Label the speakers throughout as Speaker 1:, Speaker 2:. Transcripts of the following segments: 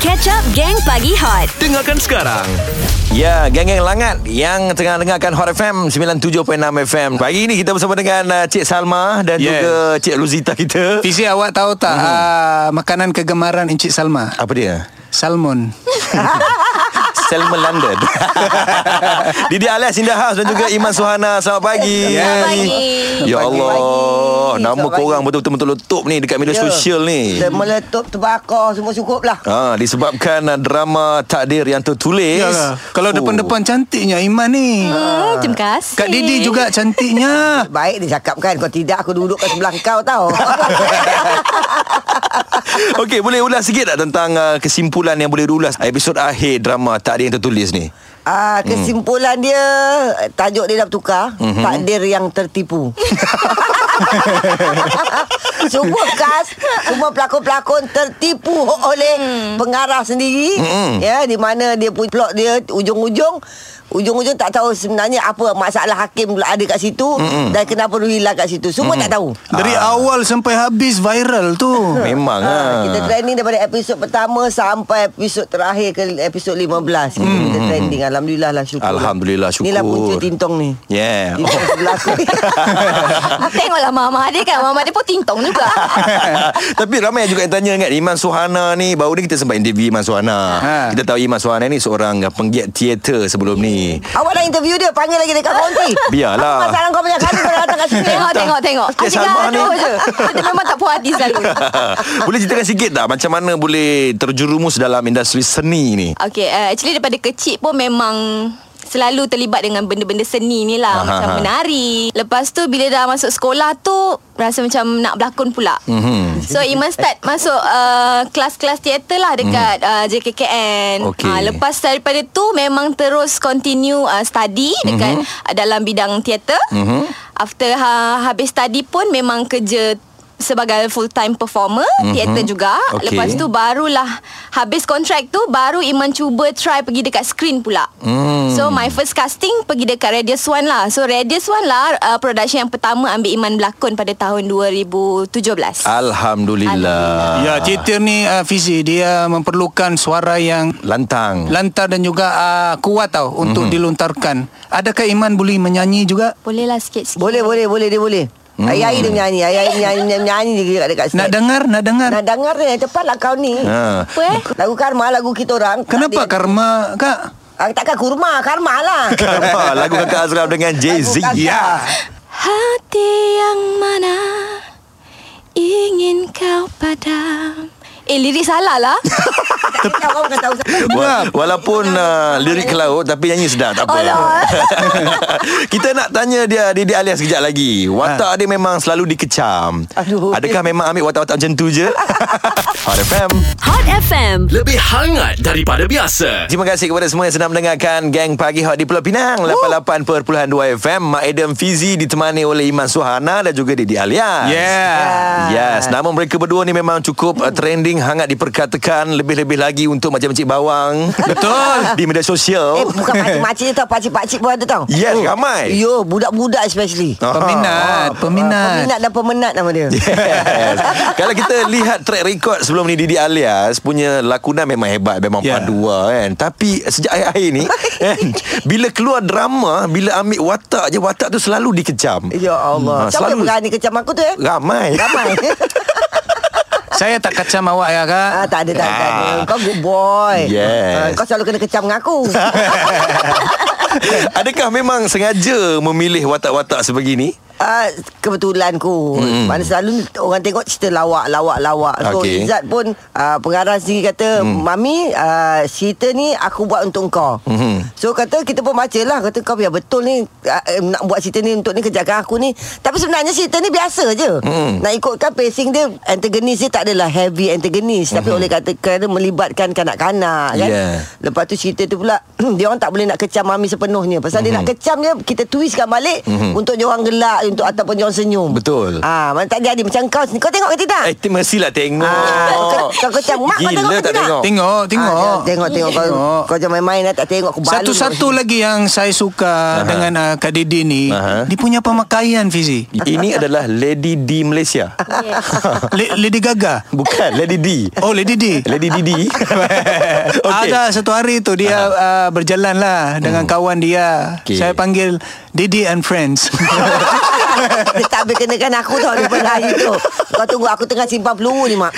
Speaker 1: Catch up Gang Pagi Hot
Speaker 2: Dengarkan sekarang
Speaker 3: Ya, geng-geng langat yang tengah dengarkan Hot FM 97.6 FM. Pagi ini kita bersama dengan uh, Cik Salma dan
Speaker 2: Yeah.
Speaker 3: yeah. juga Cik Luzita kita.
Speaker 4: Fizi awak tahu tak
Speaker 3: Hmm.
Speaker 4: mm-hmm. uh, makanan kegemaran Encik Salma?
Speaker 3: Apa dia?
Speaker 4: Salmon.
Speaker 3: Selma London. Didi Alias Indah House dan juga Iman Suhana. Selamat pagi.
Speaker 4: Selamat
Speaker 1: pagi.
Speaker 3: Ya
Speaker 5: Selamat
Speaker 3: Allah,
Speaker 5: pagi.
Speaker 3: nama
Speaker 5: Selamat
Speaker 3: korang
Speaker 5: pagi.
Speaker 3: betul-betul meletup ni dekat media
Speaker 5: Ya.
Speaker 3: sosial ni.
Speaker 5: Dia meletup terbakar semua cukup lah.
Speaker 3: Ha, disebabkan uh, drama takdir yang tertulis.
Speaker 4: Yalah. Ya lah. Kalau
Speaker 3: Oh.
Speaker 4: depan-depan cantiknya Iman ni.
Speaker 5: Ah.
Speaker 1: hmm, Terima kasih
Speaker 4: Kak Didi juga cantiknya.
Speaker 5: Baik dia cakap kan Kalau tidak aku duduk kat sebelah kau tau
Speaker 3: Okey, boleh ulas sikit tak tentang uh, kesimpulan yang boleh diulas episod akhir drama takdir yang tertulis ni?
Speaker 5: ah, Kesimpulan dia Tajuk dia dah bertukar mm-hmm. Takdir yang tertipu Semua kas Semua pelakon-pelakon tertipu oleh pengarah sendiri mm-hmm. ya Di mana dia punya plot dia Ujung-ujung Ujung-ujung tak tahu sebenarnya Apa masalah hakim pula ada kat situ mm-hmm. Dan kenapa Ruhila kat situ Semua mm-hmm. tak tahu
Speaker 4: Dari awal sampai habis viral tu.
Speaker 3: Ah. Memang
Speaker 5: Ha,
Speaker 3: ah.
Speaker 5: kita trending daripada episod pertama sampai episod terakhir ke episod 15. Kita, hmm. kita trending. Alhamdulillah lah syukur.
Speaker 3: Alhamdulillah, syukur. Ya.
Speaker 5: Inilah punca tintong ni.
Speaker 3: Yeah.
Speaker 5: Tintong sebelah aku.
Speaker 1: Tengoklah mama dia kan Mama dia pun tingtong juga
Speaker 3: Tapi ramai juga yang tanya ingat Iman Suhana ni Baru ni kita sempat interview Iman Suhana
Speaker 4: Ha.
Speaker 3: Kita tahu Iman Suhana ni Seorang uh, penggiat teater sebelum ni
Speaker 5: Awak dah interview dia Panggil lagi dekat konti
Speaker 3: Biarlah.
Speaker 5: Apa masalah kau banyak kali Kau dah datang kat sini
Speaker 1: Tengok tengok tengok
Speaker 3: Cik
Speaker 1: Adik
Speaker 3: Salma ni.
Speaker 1: gaduh je Dia memang tak puas hati selalu
Speaker 3: Boleh ceritakan sikit tak Macam mana boleh Terjerumus dalam industri seni ni
Speaker 1: Okay uh, Actually daripada kecil pun memang Selalu terlibat dengan benda-benda seni ni lah
Speaker 3: Aha,
Speaker 1: Macam
Speaker 3: aha.
Speaker 1: menari Lepas tu bila dah masuk sekolah tu Rasa macam nak berlakon pula
Speaker 3: Mhm.
Speaker 1: mm-hmm. So Iman start masuk uh, Kelas-kelas teater lah dekat mm. uh, JKKN
Speaker 3: Mhm. Okey.
Speaker 1: Ah, Lepas daripada tu Memang terus continue uh, study
Speaker 3: Mhm.
Speaker 1: Dekat mm-hmm. uh, dalam bidang teater mm-hmm. After ha, habis study pun Memang kerja sebagai full time performer mm-hmm. teater juga
Speaker 3: Mhm. Okey.
Speaker 1: okay. lepas tu barulah habis kontrak tu baru Iman cuba try pergi dekat screen pula. Mm. So my first casting pergi dekat Radius One lah. So Radius One lah uh, production yang pertama ambil Iman berlakon pada tahun 2017.
Speaker 3: Ah. Alhamdulillah
Speaker 4: Ya, teater ni uh, Fizi dia memerlukan suara yang
Speaker 3: Lantang
Speaker 4: lantar dan juga uh, kuat tau untuk
Speaker 3: Hmm.
Speaker 4: dilontarkan. Adakah Iman boleh menyanyi juga?
Speaker 1: Boleh lah sikit-sikit.
Speaker 5: Boleh boleh boleh Dia boleh
Speaker 3: Hmm.
Speaker 5: Ayah-ayah dia menyanyi Ayah-ayah dia menyanyi, dia menyanyi dekat, dekat sini
Speaker 4: Nak dengar, nak dengar.
Speaker 5: Nak dengar ni Cepat lah kau ni
Speaker 3: ha.
Speaker 1: Apa eh?
Speaker 5: Lagu Karma Lagu kita orang
Speaker 4: Kenapa karma, Kak?
Speaker 5: Ah, Takkan kurma Karma lah
Speaker 3: Karma Lagu Kakak Azram dengan Jay-Z
Speaker 5: Lagu Kakak.
Speaker 4: Ya.
Speaker 1: Hati yang mana ingin kau padam. Eh lirik salah lah.
Speaker 5: Tak tahu kau bukan tahu Eh, siapa.
Speaker 3: Wa- Walaupun uh, lirik ke laut Tapi nyanyi sedap Tak apa
Speaker 1: Alah.
Speaker 3: Kita nak tanya dia Didi alias sekejap lagi Watak dia memang selalu dikecam
Speaker 5: Aduh.
Speaker 3: Adakah memang ambil watak-watak macam tu je? Hot FM
Speaker 1: Hot FM.
Speaker 2: Lebih hangat daripada biasa
Speaker 3: Terima kasih kepada semua yang sedang mendengarkan Gang Pagi Hot di Pulau Pinang 88.2 FM Mak Adam Fizi ditemani oleh Iman Suhana Dan juga Didi Alias Ah.
Speaker 4: Yeah.
Speaker 3: Yes Nama mereka berdua ni memang cukup uh, trending Hangat diperkatakan Lebih-lebih lagi untuk macam-macam bawang Betul Di media
Speaker 5: Eh
Speaker 3: sosial
Speaker 5: bukan pakcik-makcik je tau Pakcik-pakcik pun ada tau
Speaker 3: Yes ramai
Speaker 5: Oh. Yo budak-budak especially Ah,
Speaker 3: Ah.
Speaker 4: Peminat, peminat.
Speaker 5: Peminat dan pemenat nama dia
Speaker 3: Yes. Kalau kita lihat track record sebelum ni Didi Alias punya lakonan memang hebat, memang yeah.
Speaker 4: Ya.
Speaker 3: padua kan. Tapi sejak akhir-akhir ni kan, bila keluar drama, bila ambil watak je watak tu selalu dikecam.
Speaker 5: Ya Allah
Speaker 3: Hmm,
Speaker 5: Siapa yang
Speaker 3: selalu-
Speaker 5: berani kecam aku tu eh
Speaker 3: Ramai.
Speaker 5: Ramai
Speaker 4: Saya tak kacam awak ya, Kak.
Speaker 5: ah, Tak ada tak ada, tak ada Kau good boy
Speaker 3: Yes.
Speaker 5: ah, Kau selalu kena kecam dengan aku
Speaker 3: Adakah memang sengaja memilih watak-watak sebegini?
Speaker 5: Ah, kebetulan ku hmm. Mana selalu orang tengok cerita lawak Lawak lawak So
Speaker 3: Okey.
Speaker 5: okay. Izzat pun ah, Pengarah sendiri kata hmm. Mami ah, cerita ni aku buat untuk kau hmm. So kata kita pun baca lah Kata kau biar betul ni ah, eh, Nak buat cerita ni untuk ni kerjakan aku ni Tapi sebenarnya cerita ni biasa je hmm. Nak ikutkan pacing dia Antagonis dia tak adalah heavy antagonis hmm. Tapi oleh kata kerana melibatkan kanak-kanak kan
Speaker 3: Yeah.
Speaker 5: Lepas tu cerita tu pula
Speaker 4: Mhm.
Speaker 5: Dia orang tak boleh nak kecam mami sepenuhnya Pasal mm-hmm. dia nak kecam dia Kita twistkan balik mm-hmm. Untuk dia orang gelak untuk ataupun dia orang senyum.
Speaker 3: Betul.
Speaker 5: Ah, mana tak jadi macam kau ni. Kau tengok ke tidak?
Speaker 3: Eh, terima kasih lah tengok.
Speaker 5: Ah, kau kau macam mak kau
Speaker 3: Gila
Speaker 5: tengok ke
Speaker 3: tak
Speaker 5: tidak?
Speaker 3: tengok.
Speaker 4: Tengok, tengok.
Speaker 5: Oh. Ah, jangan tengok, tengok kau.
Speaker 4: Tengok.
Speaker 5: Kau jangan main-main lah, tak tengok aku balu.
Speaker 4: Satu-satu lah. lagi yang saya suka
Speaker 3: Aha.
Speaker 4: dengan uh, Kak Didi ni,
Speaker 3: Aha.
Speaker 4: dia punya pemakaian Fizi.
Speaker 3: Ini adalah Lady D Malaysia.
Speaker 4: Le- Lady Gaga.
Speaker 3: Bukan, Lady D.
Speaker 4: Oh, Lady Di.
Speaker 3: Lady Didi.
Speaker 4: Okay.
Speaker 3: Okey.
Speaker 4: Ada satu hari tu dia uh, berjalan lah dengan kawan dia.
Speaker 3: Okey.
Speaker 4: Saya panggil Didi and Friends.
Speaker 5: Dia tak boleh kenakan aku tau Daripada hari tu Kau tunggu aku tengah simpan peluru ni mak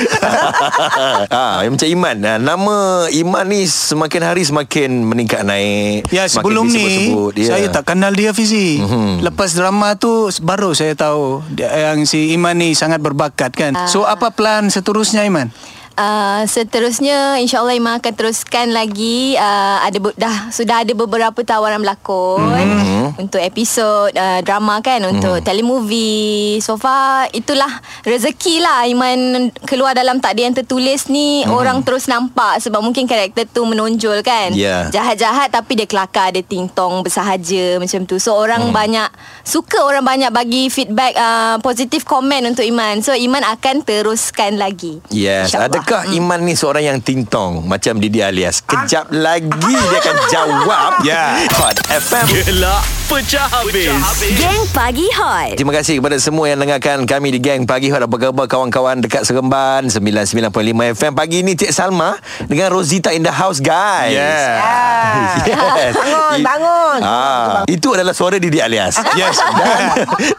Speaker 3: ah, yang macam Iman ah, Nama Iman ni Semakin hari semakin Meningkat naik
Speaker 4: ya
Speaker 3: Semakin
Speaker 4: sebelum ni
Speaker 3: disebut-sebut. Ya.
Speaker 4: saya tak kenal dia Fizi. Lepas drama tu baru saya tahu dia, yang si Iman ni sangat berbakat kan. So apa plan seterusnya Iman?
Speaker 1: Uh, seterusnya insyaallah Ima akan teruskan lagi uh, ada be- dah sudah ada beberapa tawaran berlakon mm-hmm. untuk episod uh, drama kan untuk telemovie so far itulah rezeki lah Iman keluar dalam takdir yang tertulis ni orang terus nampak sebab mungkin karakter tu menonjol kan
Speaker 3: Ya.
Speaker 1: jahat-jahat tapi dia kelakar dia tingtong bersahaja macam tu so orang banyak suka orang banyak bagi feedback uh, positif komen untuk Iman so Iman akan teruskan lagi
Speaker 3: Yes
Speaker 1: InsyaAllah.
Speaker 3: Adakah Iman ni seorang yang ting-tong Macam Didi Alias Kejap lagi Dia akan jawab Ya yeah. Hot FM
Speaker 2: Gelak pecah habis.
Speaker 6: Geng Pagi Hot.
Speaker 3: Terima kasih kepada semua yang dengarkan kami di Gang Pagi Hot. Apa khabar kawan-kawan dekat Seremban 99.5 FM. Pagi ni Cik Salma dengan Rosita in the house guys.
Speaker 5: Yeah.
Speaker 3: yes.
Speaker 5: Bangun, bangun.
Speaker 3: Ah, itu adalah suara Didi Alias. Yes. Dan,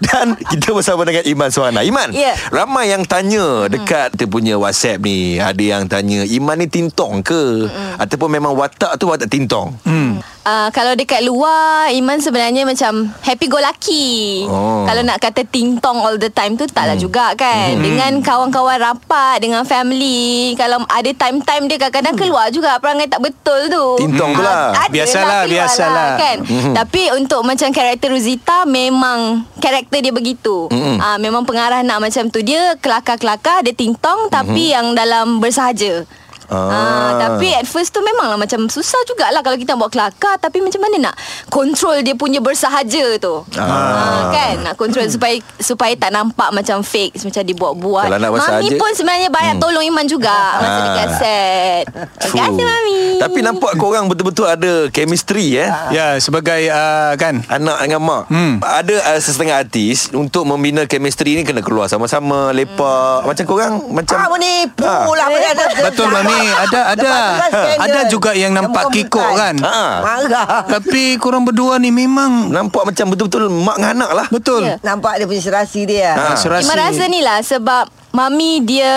Speaker 3: dan kita bersama dengan Iman Suhana. Iman,
Speaker 1: Ya.
Speaker 3: ramai yang tanya dekat kita punya WhatsApp ni. Ada yang tanya, Iman ni tintong ke? Ataupun memang watak tu watak tintong?
Speaker 4: Hmm.
Speaker 1: Uh, kalau dekat luar Iman sebenarnya macam happy go lucky.
Speaker 3: Oh. Hmm.
Speaker 1: Kalau nak kata ting tong all the time tu taklah juga kan. Dengan kawan-kawan rapat, dengan family, kalau ada time-time dia kadang-kadang
Speaker 3: Hmm.
Speaker 1: keluar juga perangai tak betul tu.
Speaker 3: Tintong tu lah.
Speaker 1: Ah, ada
Speaker 4: Biasalah,
Speaker 1: keluar
Speaker 4: biasalah.
Speaker 1: kan.
Speaker 3: Hmm.
Speaker 1: Tapi untuk macam karakter Rosita memang karakter dia begitu.
Speaker 3: Hmm.
Speaker 1: Ah memang pengarah nak macam tu. Dia kelakar-kelakar, dia ting tong tapi yang dalam bersahaja.
Speaker 3: Hmm. Ah.
Speaker 1: Ah. tapi at first tu memanglah macam susah jugalah kalau kita nak buat kelakar tapi macam mana nak control dia punya bersahaja tu. Ah. kan nak
Speaker 3: Hmm.
Speaker 1: control supaya supaya tak nampak macam fake macam dibuat-buat.
Speaker 3: Kalau nak bersahaja-
Speaker 1: Mami pun sebenarnya banyak hmm. tolong Iman juga masa
Speaker 3: Ah.
Speaker 1: dekat set. Terima
Speaker 3: Fuh.
Speaker 1: kasih Mami.
Speaker 3: Tapi nampak korang betul-betul ada chemistry eh.
Speaker 4: Ya sebagai uh, kan
Speaker 3: Anak dengan mak hmm. Ada uh, setengah artis Untuk membina chemistry ni Kena keluar sama-sama Lepak hmm. Macam korang Macam
Speaker 5: Kamu ni pula
Speaker 4: Betul Mami Ada ada
Speaker 1: kan
Speaker 4: Ha,
Speaker 5: kan
Speaker 4: Ada juga yang nampak kikuk kan
Speaker 3: Ha.
Speaker 5: Marah
Speaker 4: Tapi korang berdua ni memang
Speaker 3: Nampak macam betul-betul Mak dengan anak lah
Speaker 4: Betul
Speaker 1: Ya.
Speaker 5: Nampak dia punya serasi dia
Speaker 3: Ha.
Speaker 4: Ah, serasi.
Speaker 1: Iman rasa ni lah sebab Mami dia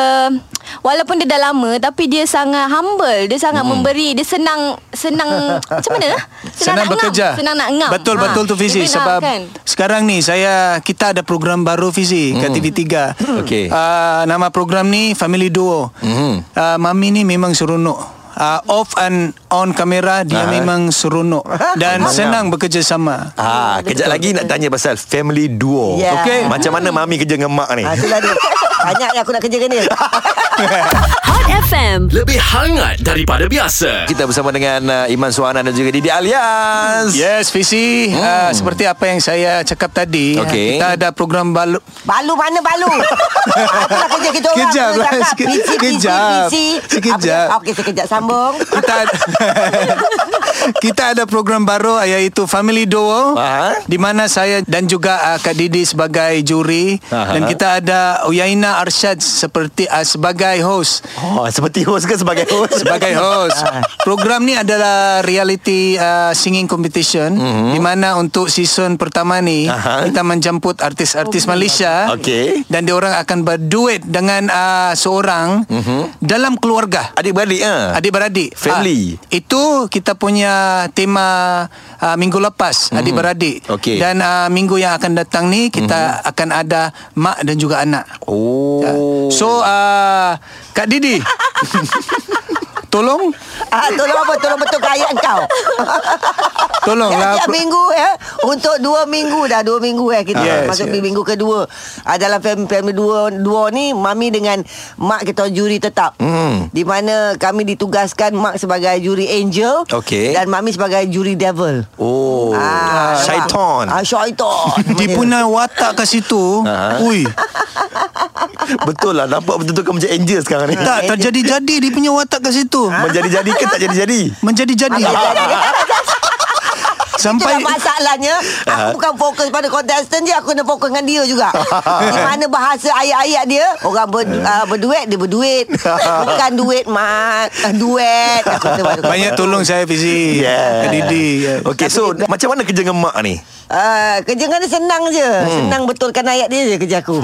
Speaker 1: Walaupun dia dah lama Tapi dia sangat humble Dia sangat hmm. memberi Dia senang Senang Macam mana lah
Speaker 4: Senang
Speaker 1: nak
Speaker 4: bekerja
Speaker 1: ngam. Senang nak ngam
Speaker 4: Betul
Speaker 1: Ha.
Speaker 4: betul tu Fizi
Speaker 1: Even, ha,
Speaker 4: Sebab sekarang ni saya Kita ada program baru Fizi Kat TV3
Speaker 3: Hmm. Okey.
Speaker 4: Ah, Nama program ni Family Duo
Speaker 3: Hmm.
Speaker 4: Ah, Mami ni memang seronok Ah, Off and on kamera Dia
Speaker 3: Ah.
Speaker 4: memang seronok Dan
Speaker 3: Memang.
Speaker 4: senang bekerja sama
Speaker 3: Ah, kejap lagi nak tanya pasal family duo.
Speaker 5: Ya.
Speaker 3: Okey, macam mana mami kerja dengan mak
Speaker 4: Eh.
Speaker 3: ni?
Speaker 5: ha, Itulah dia Banyak yang aku nak kerja dengan dia
Speaker 6: Hot FM.
Speaker 2: Lebih hangat daripada biasa.
Speaker 3: Kita bersama dengan uh, Iman Suhana dan juga Didi Alias.
Speaker 4: Yes Fizi Ah, Seperti apa yang saya cakap tadi
Speaker 3: Hmm. Okey.
Speaker 4: Kita ada program baru
Speaker 5: Balu mana balu Aku nak kerja kita orang
Speaker 4: Sekejap
Speaker 5: Aku
Speaker 4: lah,
Speaker 5: cakap
Speaker 4: seke-
Speaker 5: PC,
Speaker 4: sekejap.
Speaker 5: PC, PC.
Speaker 4: Sekejap.
Speaker 5: Apa dia? Okey sekejap sambung
Speaker 4: kita ada, kita ada program baru iaitu Family Duo
Speaker 3: Aha.
Speaker 4: di mana saya dan juga uh, Kak Didi sebagai juri
Speaker 3: Aha.
Speaker 4: dan kita ada Uyaina Arshad seperti uh, sebagai host
Speaker 3: Oh, seperti host ke sebagai host?
Speaker 4: sebagai host. Program ni adalah reality uh, singing competition di mana untuk season pertama ni
Speaker 3: Mhm. Aha.
Speaker 4: kita menjemput artis-artis Malaysia
Speaker 3: Okey.
Speaker 4: dan diorang akan berduet dengan uh, seorang
Speaker 3: Mhm.
Speaker 4: dalam keluarga
Speaker 3: Adik-beradik ah.
Speaker 4: adik-beradik
Speaker 3: Family.
Speaker 4: ah, itu kita punya tema ah, minggu lepas mm-hmm. adik-beradik
Speaker 3: Mhm. Okey. Mhm.
Speaker 4: dan ah, minggu yang akan datang ni kita mm-hmm. akan ada mak dan juga anak Ya.
Speaker 3: Oh.
Speaker 4: so ah, Kak Didi tolong
Speaker 5: ah, Tolong apa Tolong betul kaya kau
Speaker 4: tolonglah
Speaker 5: Tiap-tiap minggu ya, Untuk dua minggu dah Dua minggu eh Kita
Speaker 4: Yes,
Speaker 5: yes, masuk
Speaker 4: Ah, yes.
Speaker 5: yes. minggu kedua uh, Dalam family, family dua, dua ni Mami dengan Mak kita juri tetap
Speaker 3: Hmm.
Speaker 5: Di mana kami ditugaskan Mak sebagai juri angel
Speaker 3: Okey.
Speaker 5: Dan Mami sebagai juri devil
Speaker 3: Oh Syaiton
Speaker 5: ah, Syaiton
Speaker 4: Dia punya watak kat situ
Speaker 3: Ha.
Speaker 4: Ui
Speaker 3: Betul lah Nampak betul-betul kau macam angel sekarang ni
Speaker 4: Tak terjadi-jadi Dia punya watak kat situ
Speaker 5: Ha?
Speaker 3: Menjadi-jadi ke tak jadi-jadi
Speaker 4: Menjadi-jadi Sampai
Speaker 5: Itulah masalahnya Aku bukan fokus pada contestant je Aku kena fokus dengan dia juga Di mana bahasa ayat-ayat dia Orang ber, uh, berduet Dia berduit Bukan duit mat ah, Duet Aku kena baru-
Speaker 4: Banyak tolong saya Fizi
Speaker 3: Yeah
Speaker 4: Didi yeah.
Speaker 3: Okay so Macam mana kerja dengan mak ni
Speaker 5: uh, Kerja dengan dia senang je Senang betulkan ayat dia je kerja aku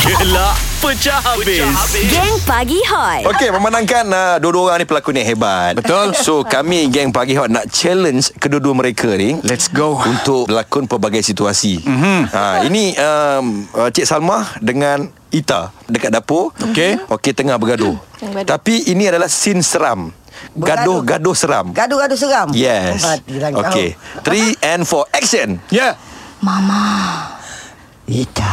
Speaker 2: Gelak pecah habis.
Speaker 6: Geng Pagi Hot.
Speaker 3: Okey, memenangkan uh, dua-dua orang ni pelakon ni hebat. Betul. So, kami geng Pagi Hot nak challenge kedua-dua mereka ni.
Speaker 4: Let's go.
Speaker 3: Untuk berlakon pelbagai situasi. Mm-hmm. Ha, ini um, uh, Cik Salma dengan Ita dekat dapur. Okey. Okey, tengah bergaduh.
Speaker 1: Tengah bergaduh.
Speaker 3: Tapi ini adalah scene seram.
Speaker 5: Bergaduh. Ah,
Speaker 3: Gaduh-gaduh seram.
Speaker 5: Gaduh-gaduh seram
Speaker 3: Yes.
Speaker 5: Matilah kau.
Speaker 3: Okey. Three and four. Action.
Speaker 4: Yeah
Speaker 5: Ita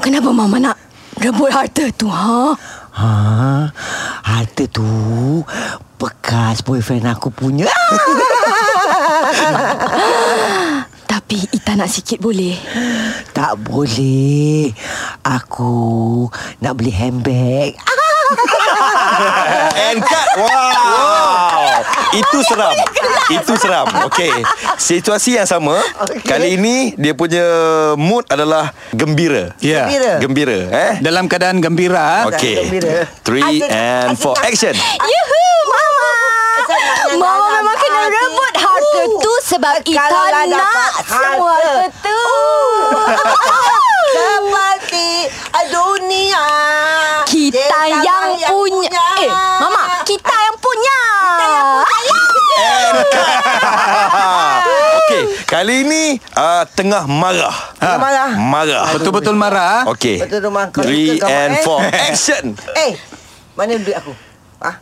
Speaker 1: Kenapa Mama nak rebut harta tu, ha?
Speaker 5: ha, Harta tu Bekas boyfriend aku punya Ah!
Speaker 1: Tapi Ita nak sikit boleh.
Speaker 5: Tak boleh Aku Nak beli handbag
Speaker 3: And cut Wow, wow. Itu seram Itu seram Okay Situasi yang sama okay. Kali ini Dia punya mood adalah Gembira
Speaker 4: Yeah
Speaker 5: Gembira.
Speaker 3: Gembira eh?
Speaker 4: Ya. Dalam keadaan gembira ha? okay.
Speaker 3: Okay
Speaker 5: Gembira.
Speaker 3: Three
Speaker 5: Asyik-
Speaker 3: and
Speaker 5: asyik
Speaker 3: four
Speaker 5: tak-
Speaker 3: Action
Speaker 1: Yuhu, Mama! Mama memang kena
Speaker 5: Hati.
Speaker 1: rebut harta
Speaker 5: Uh,
Speaker 1: tu sebab Ita
Speaker 5: kalau lah
Speaker 1: nak
Speaker 5: dapat
Speaker 1: semua Uh.
Speaker 5: harta.
Speaker 1: harta tu.
Speaker 5: Seperti dunia
Speaker 1: Kita
Speaker 5: ah. Dia
Speaker 1: yang
Speaker 5: yang
Speaker 1: punya.
Speaker 5: ah.
Speaker 1: Eh, Mama, kita yang punya. Kita yang punya.
Speaker 3: Okay Ah. Kali ini uh, Tengah marah Ah.
Speaker 5: Tengah marah.
Speaker 3: Marah
Speaker 4: Betul-betul marah ah. okay.
Speaker 3: Okay
Speaker 5: Betul tu, Mak. Kau
Speaker 3: Three
Speaker 5: suka kau,
Speaker 3: and
Speaker 5: Mak, eh?
Speaker 3: four Action
Speaker 5: Eh Mana duit aku Ah,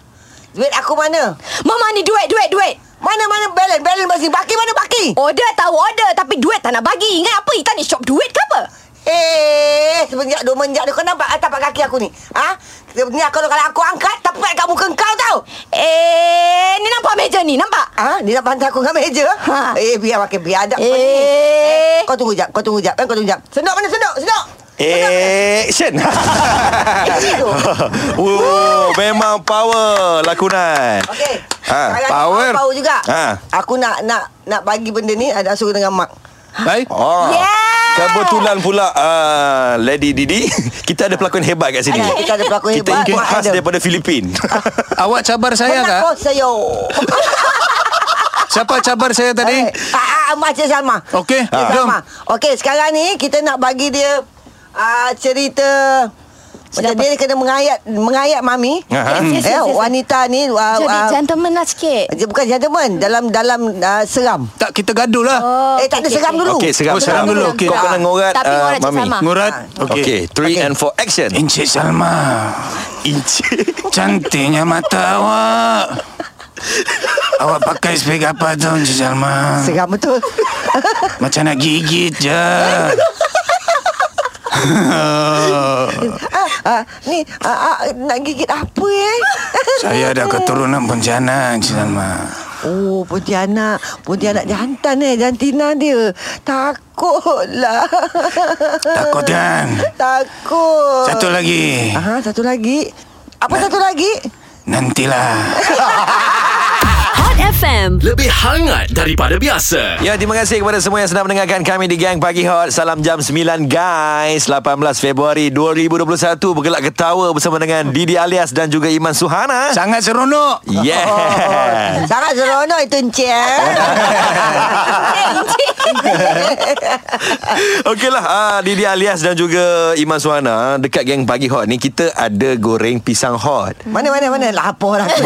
Speaker 5: Duit aku mana
Speaker 1: Mama ni duit, duit, duit.
Speaker 5: Mana mana balance Balance masih Baki mana baki
Speaker 1: Order tahu order tapi duit tak nak bagi. Ingat apa? Ita ni shop duit ke apa?
Speaker 5: Eh, semenjak dua menjak ni kau nampak ah, tapak kaki aku ni? Ha? Ni aku kalau aku angkat tapak kat muka kau tau.
Speaker 1: Eh, ni nampak meja ni, nampak?
Speaker 5: Ah, ha? dia nak pantai aku dengan meja. Ha.
Speaker 1: Ha.
Speaker 5: Eh, biar makin biadab kau ni.
Speaker 1: Eh.
Speaker 5: Kau tunggu jap, kau tunggu jap. Eh, kau tunggu jap. Sendok mana sendok? Sendok.
Speaker 3: Action
Speaker 1: Ha.
Speaker 5: Action Eh, tu.
Speaker 3: Oh, memang power lakonan.
Speaker 5: Okey.
Speaker 3: Ha,
Speaker 5: Sekarang ni
Speaker 3: power.
Speaker 5: Kau tahu juga.
Speaker 3: Ha.
Speaker 5: Aku nak nak nak bagi benda ni ada suruh dengan mak.
Speaker 4: Baik
Speaker 3: Oh.
Speaker 1: Yeah.
Speaker 3: Kebetulan pula uh, Lady Didi Kita ada pelakon hebat kat sini
Speaker 5: Ada, kita ada Ah, pelakon
Speaker 3: Kita
Speaker 5: hebat,
Speaker 3: ikut
Speaker 5: Mak
Speaker 3: khas
Speaker 5: Adam.
Speaker 3: daripada Filipin
Speaker 4: Awak cabar saya
Speaker 5: Kau nak
Speaker 4: tak?
Speaker 5: kau saya.
Speaker 4: Siapa cabar saya tadi?
Speaker 5: Eh, ah, ah, macam sama.
Speaker 4: Okey,
Speaker 5: Okey,
Speaker 4: jom.
Speaker 5: sama. Okey, sekarang ni kita nak bagi dia ah, cerita macam dia kena mengayat mengayat mami.
Speaker 3: Aha.
Speaker 5: Eh,
Speaker 1: Yes, yes, yes, yes.
Speaker 5: wanita ni ah,
Speaker 1: Jadi
Speaker 5: ah,
Speaker 1: gentleman lah sikit.
Speaker 5: dia bukan gentleman dalam dalam ah, seram.
Speaker 4: Tak kita gaduh lah
Speaker 1: Oh,
Speaker 5: eh tak ada
Speaker 1: okey,
Speaker 5: seram
Speaker 1: okey.
Speaker 5: dulu.
Speaker 3: Okey, seram,
Speaker 4: Oh, seram dulu, okey.
Speaker 3: Kau kena ngorat
Speaker 1: Tapi
Speaker 3: uh,
Speaker 1: ngorat Cik
Speaker 3: Mami
Speaker 1: Salma.
Speaker 4: Ngurat
Speaker 3: Okay, three and four action
Speaker 4: Encik Salma
Speaker 3: Inci
Speaker 4: Cantiknya mata awak Awak pakai spek apa tu Encik Salma
Speaker 5: Seram betul.
Speaker 4: Macam nak gigit je
Speaker 5: ah, ah, ni ah, ah, nak gigit apa eh?
Speaker 4: Saya ada keturunan bencana Encik Salma
Speaker 5: Oh, Pontianak. Pontianak jantan eh, jantina dia. Takutlah.
Speaker 4: Takut kan
Speaker 5: Takut.
Speaker 4: Satu lagi
Speaker 5: Ah, satu lagi. Apa satu lagi?
Speaker 4: Nantilah
Speaker 6: Hot FM.
Speaker 2: Lebih hangat daripada biasa.
Speaker 3: Ya, terima kasih kepada semua yang sedang mendengarkan kami di Gang Pagi Hot. Salam jam 9 guys. 18 Februari 2021 bergelak ketawa bersama dengan Didi Alias dan juga Iman Suhana.
Speaker 4: Sangat seronok
Speaker 3: Yeah.
Speaker 5: Sangat seronok itu encik eh.
Speaker 1: Eh, Encik.
Speaker 3: Okeylah ah, Didi Alias dan juga Iman Suhana Dekat geng Pagi Hot ni Kita ada goreng pisang hot
Speaker 5: Mana mana mana lah apa orang tu.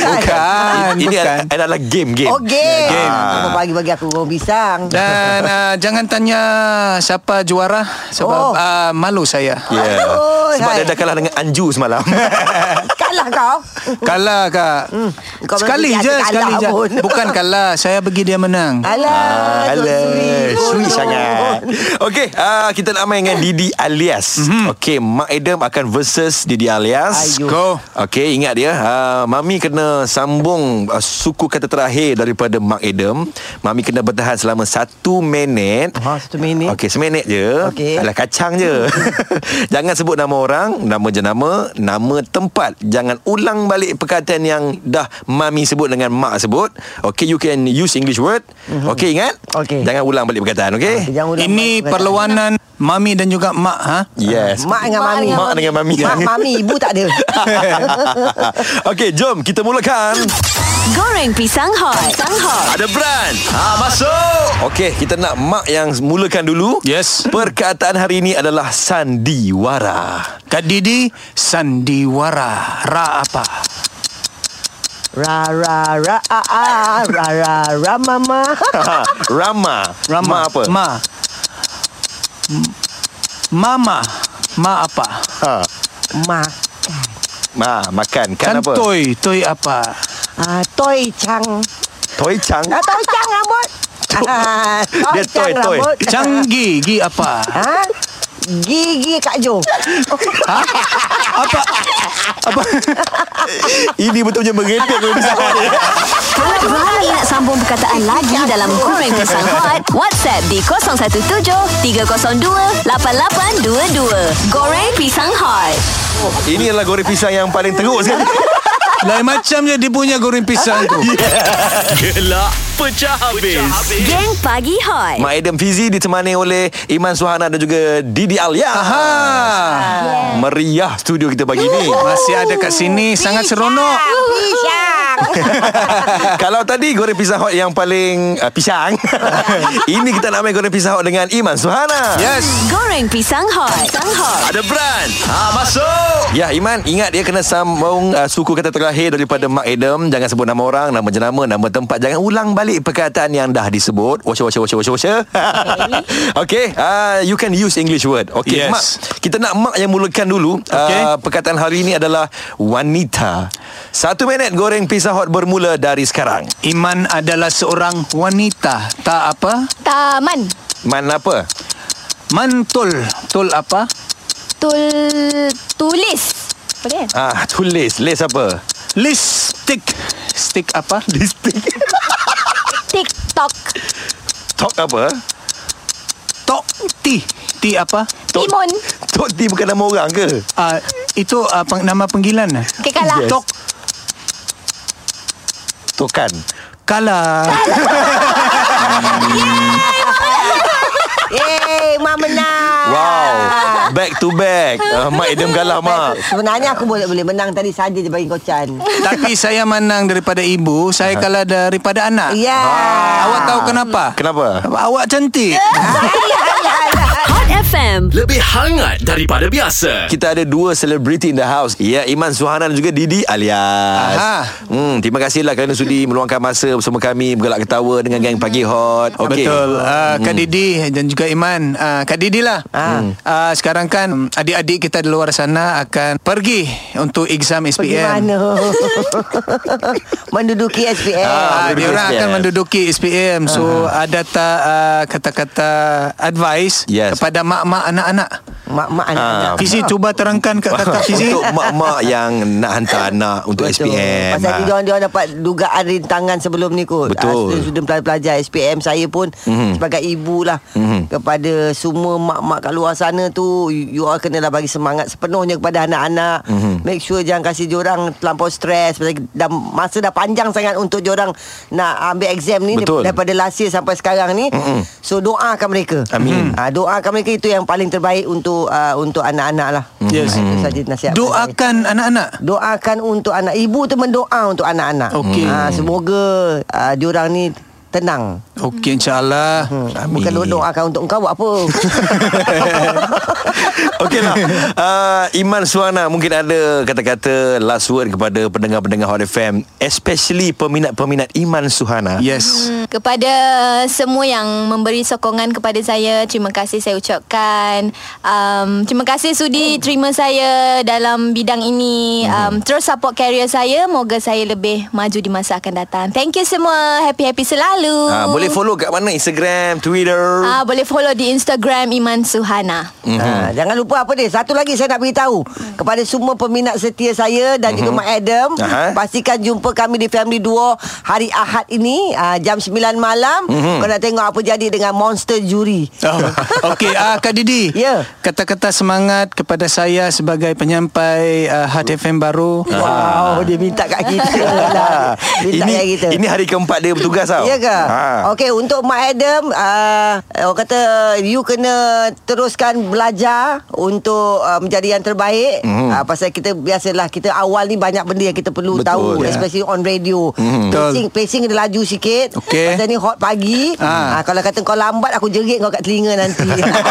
Speaker 4: Bukan,
Speaker 3: Ini
Speaker 4: bukan.
Speaker 3: ad- adalah game game.
Speaker 5: Oh game.
Speaker 4: Game.
Speaker 5: Ah. Bagi-bagi aku goreng pisang.
Speaker 4: Dan uh, jangan tanya siapa juara sebab oh.
Speaker 5: Oh. Ya.
Speaker 4: uh, malu saya.
Speaker 3: Yeah.
Speaker 5: Oi,
Speaker 3: Ya. Sebab dia
Speaker 5: hai.
Speaker 3: dah kalah dengan Anju semalam.
Speaker 5: Kalah kau.
Speaker 4: Kalah kak. Hmm.
Speaker 5: kau
Speaker 4: Sekali
Speaker 5: berhenti
Speaker 4: je,
Speaker 5: hati
Speaker 4: sekali
Speaker 5: kalah
Speaker 4: je.
Speaker 5: pun.
Speaker 4: Bukan kalah, saya bagi dia menang.
Speaker 5: Alah. tu
Speaker 3: Alah, sweet
Speaker 5: Oh,
Speaker 3: sangat. Okey, ah, kita nak main dengan Didi Alias.
Speaker 5: Mhm.
Speaker 3: Okey, Mak Adam akan versus Didi Alias.
Speaker 5: Ayuh.
Speaker 4: Go.
Speaker 3: Okey, ingat dia. ah, Mami kena sambung ah, suku kata terakhir daripada Mak Adam. Mami kena bertahan selama satu minit.
Speaker 5: Ha, satu minit.
Speaker 3: Okey, seminit je.
Speaker 5: Okey.
Speaker 3: Alah kacang je. jangan sebut nama orang, nama jenama, nama tempat. Jangan ulang balik perkataan yang dah mami sebut dengan mak sebut. Okey, you can use English word. Okey, ingat?
Speaker 5: Okey.
Speaker 3: Jangan ulang balik perkataan, okey?
Speaker 5: Jangan ulang
Speaker 4: Ini
Speaker 5: balik.
Speaker 4: perlawanan mami dan juga mak ha.
Speaker 3: Yes.
Speaker 5: Mak dengan
Speaker 1: Mak
Speaker 5: mami.
Speaker 1: dengan
Speaker 3: Mak dengan mami.
Speaker 5: Mak mami ibu tak ada.
Speaker 3: Okey, jom kita mulakan.
Speaker 6: Goreng pisang hot. Pisang hot.
Speaker 2: Ada brand Ha,
Speaker 3: Ah, masuk. Okey, kita nak mak yang mulakan dulu.
Speaker 4: Yes.
Speaker 3: Perkataan hari ini adalah sandiwara.
Speaker 4: Kak Didi sandiwara. Ra apa?
Speaker 5: Ra ra ra a a ra ra ra mama.
Speaker 3: Ha, Rama. Ma
Speaker 4: Rama
Speaker 3: apa?
Speaker 4: Ma. M- Mama. Ma apa?
Speaker 3: Ha.
Speaker 5: Ma.
Speaker 3: Ma, makan. Kan,
Speaker 4: Kan
Speaker 3: apa?
Speaker 4: toy, toy apa?
Speaker 5: Ah, toy chang.
Speaker 3: Toy chang.
Speaker 5: Ah, toy chang rambut. Ah,
Speaker 3: Dia toy, toy.
Speaker 5: rambut.
Speaker 4: Canggih, gi apa?
Speaker 5: Ha? Gigi Kak Jo.
Speaker 3: Ini betulnya merepek kalau disebut.
Speaker 6: Kalau berani nak sambung perkataan lagi dalam Goreng Pisang Hot, WhatsApp di 017-302-8822. Goreng Pisang Hot.
Speaker 3: Ini adalah goreng pisang yang paling teruk sekali.
Speaker 4: Lain macam je dia punya goreng pisang tu.
Speaker 2: Gelak pecah habis, pecah habis.
Speaker 6: Geng Pagi Hot.
Speaker 3: Mak Adam Fizi ditemani oleh Iman Suhana dan juga Didi Alia.
Speaker 4: Aha.
Speaker 3: Meriah studio kita pagi ni.
Speaker 4: Masih ada kat sini sangat seronok.
Speaker 5: Pisang.
Speaker 3: Kalau tadi goreng pisang hot yang paling uh, pisang. Ini kita nak main goreng pisang hot dengan Iman Suhana.
Speaker 4: Yes.
Speaker 6: Goreng Pisang Hot. Pisang Hot.
Speaker 2: Ada brand
Speaker 3: Ya Iman Ingat dia kena sambung uh, Suku kata terakhir Daripada Mark Adam Jangan sebut nama orang Nama jenama Nama tempat Jangan ulang balik Perkataan yang dah disebut Washa washa washa washa washa Okay uh, You can use English word Okay
Speaker 4: Yes.
Speaker 3: Mak Kita nak Mak yang mulakan dulu
Speaker 4: Okay.
Speaker 3: uh, Perkataan hari ini adalah Wanita Satu minit goreng pizza hot Bermula dari sekarang
Speaker 4: Iman adalah seorang wanita. Tak apa?
Speaker 1: Taman
Speaker 3: Man apa?
Speaker 4: Mantul. Tul apa?
Speaker 1: Tul Tulis Boleh kan?
Speaker 3: Ah, tulis List apa?
Speaker 4: Listik. Stick apa?
Speaker 3: Listing
Speaker 1: TikTok
Speaker 3: Talk apa?
Speaker 4: Tok. Ti. Ti apa?
Speaker 1: Timun
Speaker 3: Tok T bukan nama orang ke?
Speaker 4: Uh, itu uh, peng- nama panggilan.
Speaker 1: Okay kalah
Speaker 4: Tok.
Speaker 3: Tokan
Speaker 4: Kala.
Speaker 5: Yeay, Mak menang.
Speaker 3: Wow Back to back uh, Mak Adam kalah Mak
Speaker 5: Sebenarnya aku boleh boleh menang tadi saja je bagi kau Chan.
Speaker 4: Tapi saya menang daripada ibu, saya kalah daripada anak.
Speaker 5: Ya.
Speaker 3: Ah,
Speaker 4: Awak tahu kenapa?
Speaker 3: Kenapa?
Speaker 4: Awak cantik.
Speaker 6: Hot FM.
Speaker 2: Lebih hangat daripada biasa
Speaker 3: Kita ada dua selebriti in the house Ya Iman Suhana dan juga Didi alias
Speaker 4: Aha.
Speaker 3: hmm, Terima kasihlah kerana sudi meluangkan masa bersama kami Bergelak ketawa dengan geng Pagi Hot Okey. Hmm.
Speaker 4: Betul. Uh, Kak Didi dan juga Iman. Uh, Kak Didi lah. Uh, sekarang kan mm, adik-adik kita di luar sana akan pergi untuk exam SPM.
Speaker 5: Pergi mana? Menduduki SPM.
Speaker 3: Ah,
Speaker 4: Ah, dia
Speaker 3: menduduki
Speaker 4: orang
Speaker 3: SPM.
Speaker 4: akan menduduki SPM. So ada tak uh, kata-kata advice
Speaker 3: Yes.
Speaker 4: kepada mak-mak anak-anak?
Speaker 3: Ah.
Speaker 5: Mak-mak anak-anak.
Speaker 4: Fizi cuba terangkan kat kata Fizi.
Speaker 3: Untuk mak-mak yang nak hantar anak Untuk
Speaker 5: Betul.
Speaker 3: SPM
Speaker 5: Pasal
Speaker 3: Ah.
Speaker 5: ha. dia orang dapat dugaan rintangan sebelum ni kot.
Speaker 3: Betul. Mhm.
Speaker 5: Ah, Student-student pelajar SPM saya pun mm-hmm. sebagai ibu lah mm-hmm. kepada semua mak-mak kat luar sana tu you you all kenalah bagi semangat sepenuhnya kepada anak-anak.
Speaker 3: Mhm.
Speaker 5: Mm-hmm. Make sure jangan kasi diorang terlampau stres pasal dah, masa dah panjang sangat untuk diorang nak ambil exam ni
Speaker 3: Betul. Mhm.
Speaker 5: daripada last year sampai sekarang ni. Mm-hmm. So doakan mereka.
Speaker 3: Amin.
Speaker 5: Ah, doakan mereka itu yang paling terbaik untuk uh, untuk anak-anak lah.
Speaker 3: Mhm.
Speaker 4: Yes.
Speaker 5: Ah, Itu saja nasihat. saya.
Speaker 4: Doakan anak-anak.
Speaker 5: Doakan untuk anak Ibu tu mendoa untuk anak-anak
Speaker 4: Okey.
Speaker 5: ha, Semoga uh, Diorang ni tenang. Ah,
Speaker 4: Okey insyaAllah
Speaker 3: Amin.
Speaker 5: Hmm. Bukan duduk doakan untuk kau buat apa.
Speaker 3: Okeylah. Uh, Iman Suana mungkin ada kata-kata last word kepada pendengar-pendengar Hot FM, especially peminat-peminat Iman Suhana.
Speaker 4: Yes
Speaker 1: Hmm. Kepada semua yang memberi sokongan kepada saya Terima kasih saya ucapkan um, Terima kasih sudi
Speaker 3: Hmm.
Speaker 1: terima saya dalam bidang ini um, Terus support career saya Moga saya lebih maju di masa akan datang Thank you semua Happy-happy selalu
Speaker 3: Uh,
Speaker 5: Oh.
Speaker 3: boleh follow kat mana? Instagram, Twitter.
Speaker 1: Ah, boleh follow di Instagram Iman Suhana
Speaker 3: Mhm.
Speaker 5: ha, jangan lupa apa dia. Satu lagi saya nak beritahu kepada semua peminat setia saya dan juga Mak Adam,
Speaker 3: Mhm. Aha.
Speaker 5: pastikan jumpa kami di Family Duo hari Ahad ini ah, jam 9 malam.
Speaker 3: Mhm.
Speaker 5: Kau nak tengok apa jadi dengan Monster Juri.
Speaker 4: Oh, Okey, ah, Kak Didi.
Speaker 5: Ya.
Speaker 4: Kata-kata semangat kepada saya sebagai penyampai uh, Hot FM baru.
Speaker 5: Wow, dia minta kat kita lah. Minta
Speaker 3: Ah. ini,
Speaker 5: kat kita.
Speaker 3: ini hari keempat dia bertugas tau.
Speaker 5: Ya ke?
Speaker 3: Ha.
Speaker 5: Ha. Okey, untuk Mak Adam, uh, orang kata you kena teruskan belajar untuk uh, menjadi yang terbaik. Mm. Uh, pasal kita biasalah kita awal ni banyak benda yang kita perlu
Speaker 3: Mhm. Betul,
Speaker 5: Betul, tahu,
Speaker 3: ya. Mhm.
Speaker 5: yeah. especially on radio. Mm.
Speaker 4: Betul.
Speaker 5: Pacing, pacing dia laju sikit.
Speaker 4: Okey.
Speaker 5: Pasal ni hot pagi.
Speaker 4: Ah.
Speaker 5: Ha. Uh, kalau kata kau lambat aku jerit kau kat telinga nanti.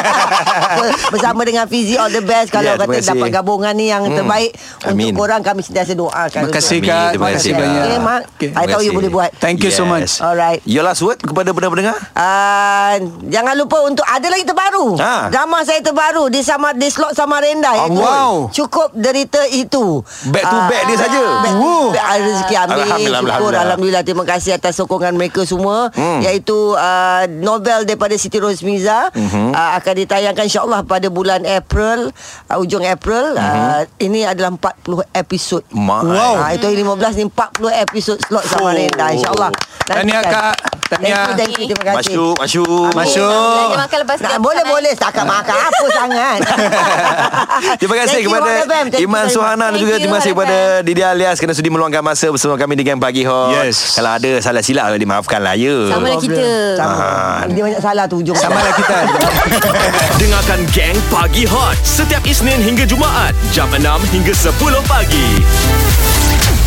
Speaker 5: so, bersama dengan Fizi all the best kalau
Speaker 3: Ya,
Speaker 5: yeah,
Speaker 3: terima
Speaker 5: kata
Speaker 3: kasih. Hmm.
Speaker 5: dapat gabungan ni yang mm. terbaik
Speaker 3: Amin.
Speaker 5: untuk korang kami sentiasa doakan.
Speaker 4: Terima kasih,
Speaker 5: Untuk-
Speaker 4: Kak.
Speaker 3: Terima kasih
Speaker 5: banyak.
Speaker 3: Kak.
Speaker 5: Okey, Mak.
Speaker 4: Okey.
Speaker 5: I tahu you boleh buat.
Speaker 4: Thank you so much.
Speaker 5: Alright.
Speaker 3: Your last word kepada pendengar-pendengar?
Speaker 5: Uh, jangan lupa untuk ada lagi terbaru.
Speaker 3: Ha.
Speaker 5: Drama saya terbaru di sama di slot Samarinda iaitu
Speaker 4: wow.
Speaker 5: Cukup derita itu.
Speaker 3: Back to
Speaker 5: Ah,
Speaker 3: back dia saja.
Speaker 5: Back to
Speaker 4: Wow.
Speaker 5: back ada rezeki ambil.
Speaker 3: Alhamdulillah,
Speaker 5: Syukur
Speaker 3: Alhamdulillah.
Speaker 5: alhamdulillah terima kasih atas sokongan mereka semua
Speaker 3: Hmm.
Speaker 5: iaitu uh, novel daripada Siti Rosmiza
Speaker 3: Mhm.
Speaker 5: mm-hmm. uh, akan ditayangkan insyaallah pada bulan April uh, ujung April. Uh,
Speaker 3: Mhm.
Speaker 5: ini adalah 40 episod.
Speaker 3: Mak.
Speaker 4: Wow.
Speaker 5: Ah, itu hari 15 ni 40 episod slot
Speaker 3: Oh.
Speaker 5: Samarinda insyaallah.
Speaker 4: Tahniah,
Speaker 5: Nantikan.
Speaker 4: Kak. Tahniah.
Speaker 5: Thank you, thank you. Terima kasih.
Speaker 3: Masyuk, Masyuk.
Speaker 4: Masyuk. Masuk.
Speaker 1: Belanja makan lepas
Speaker 5: Nah,
Speaker 1: ni.
Speaker 5: boleh boleh setakat makan apa sangat.
Speaker 3: Terima kasih
Speaker 5: Thank you,
Speaker 3: kepada
Speaker 5: Hot FM. Thank you
Speaker 3: Iman
Speaker 5: very much.
Speaker 3: Suhana dan
Speaker 1: Thank
Speaker 3: juga
Speaker 1: you,
Speaker 3: terima kasih
Speaker 1: Hot
Speaker 3: kepada Didi Alias kerana sudi meluangkan masa bersama kami di Gang Pagi Hot.
Speaker 4: Yes.
Speaker 3: Kalau ada salah silap dimaafkan lah ya.
Speaker 1: Sama lah kita
Speaker 5: Sama.
Speaker 3: Ah.
Speaker 5: Dia banyak salah tu hujung.
Speaker 4: Sama lah kita.
Speaker 2: Dengarkan Gang Pagi Hot setiap Isnin hingga Jumaat jam 6 hingga 10 pagi.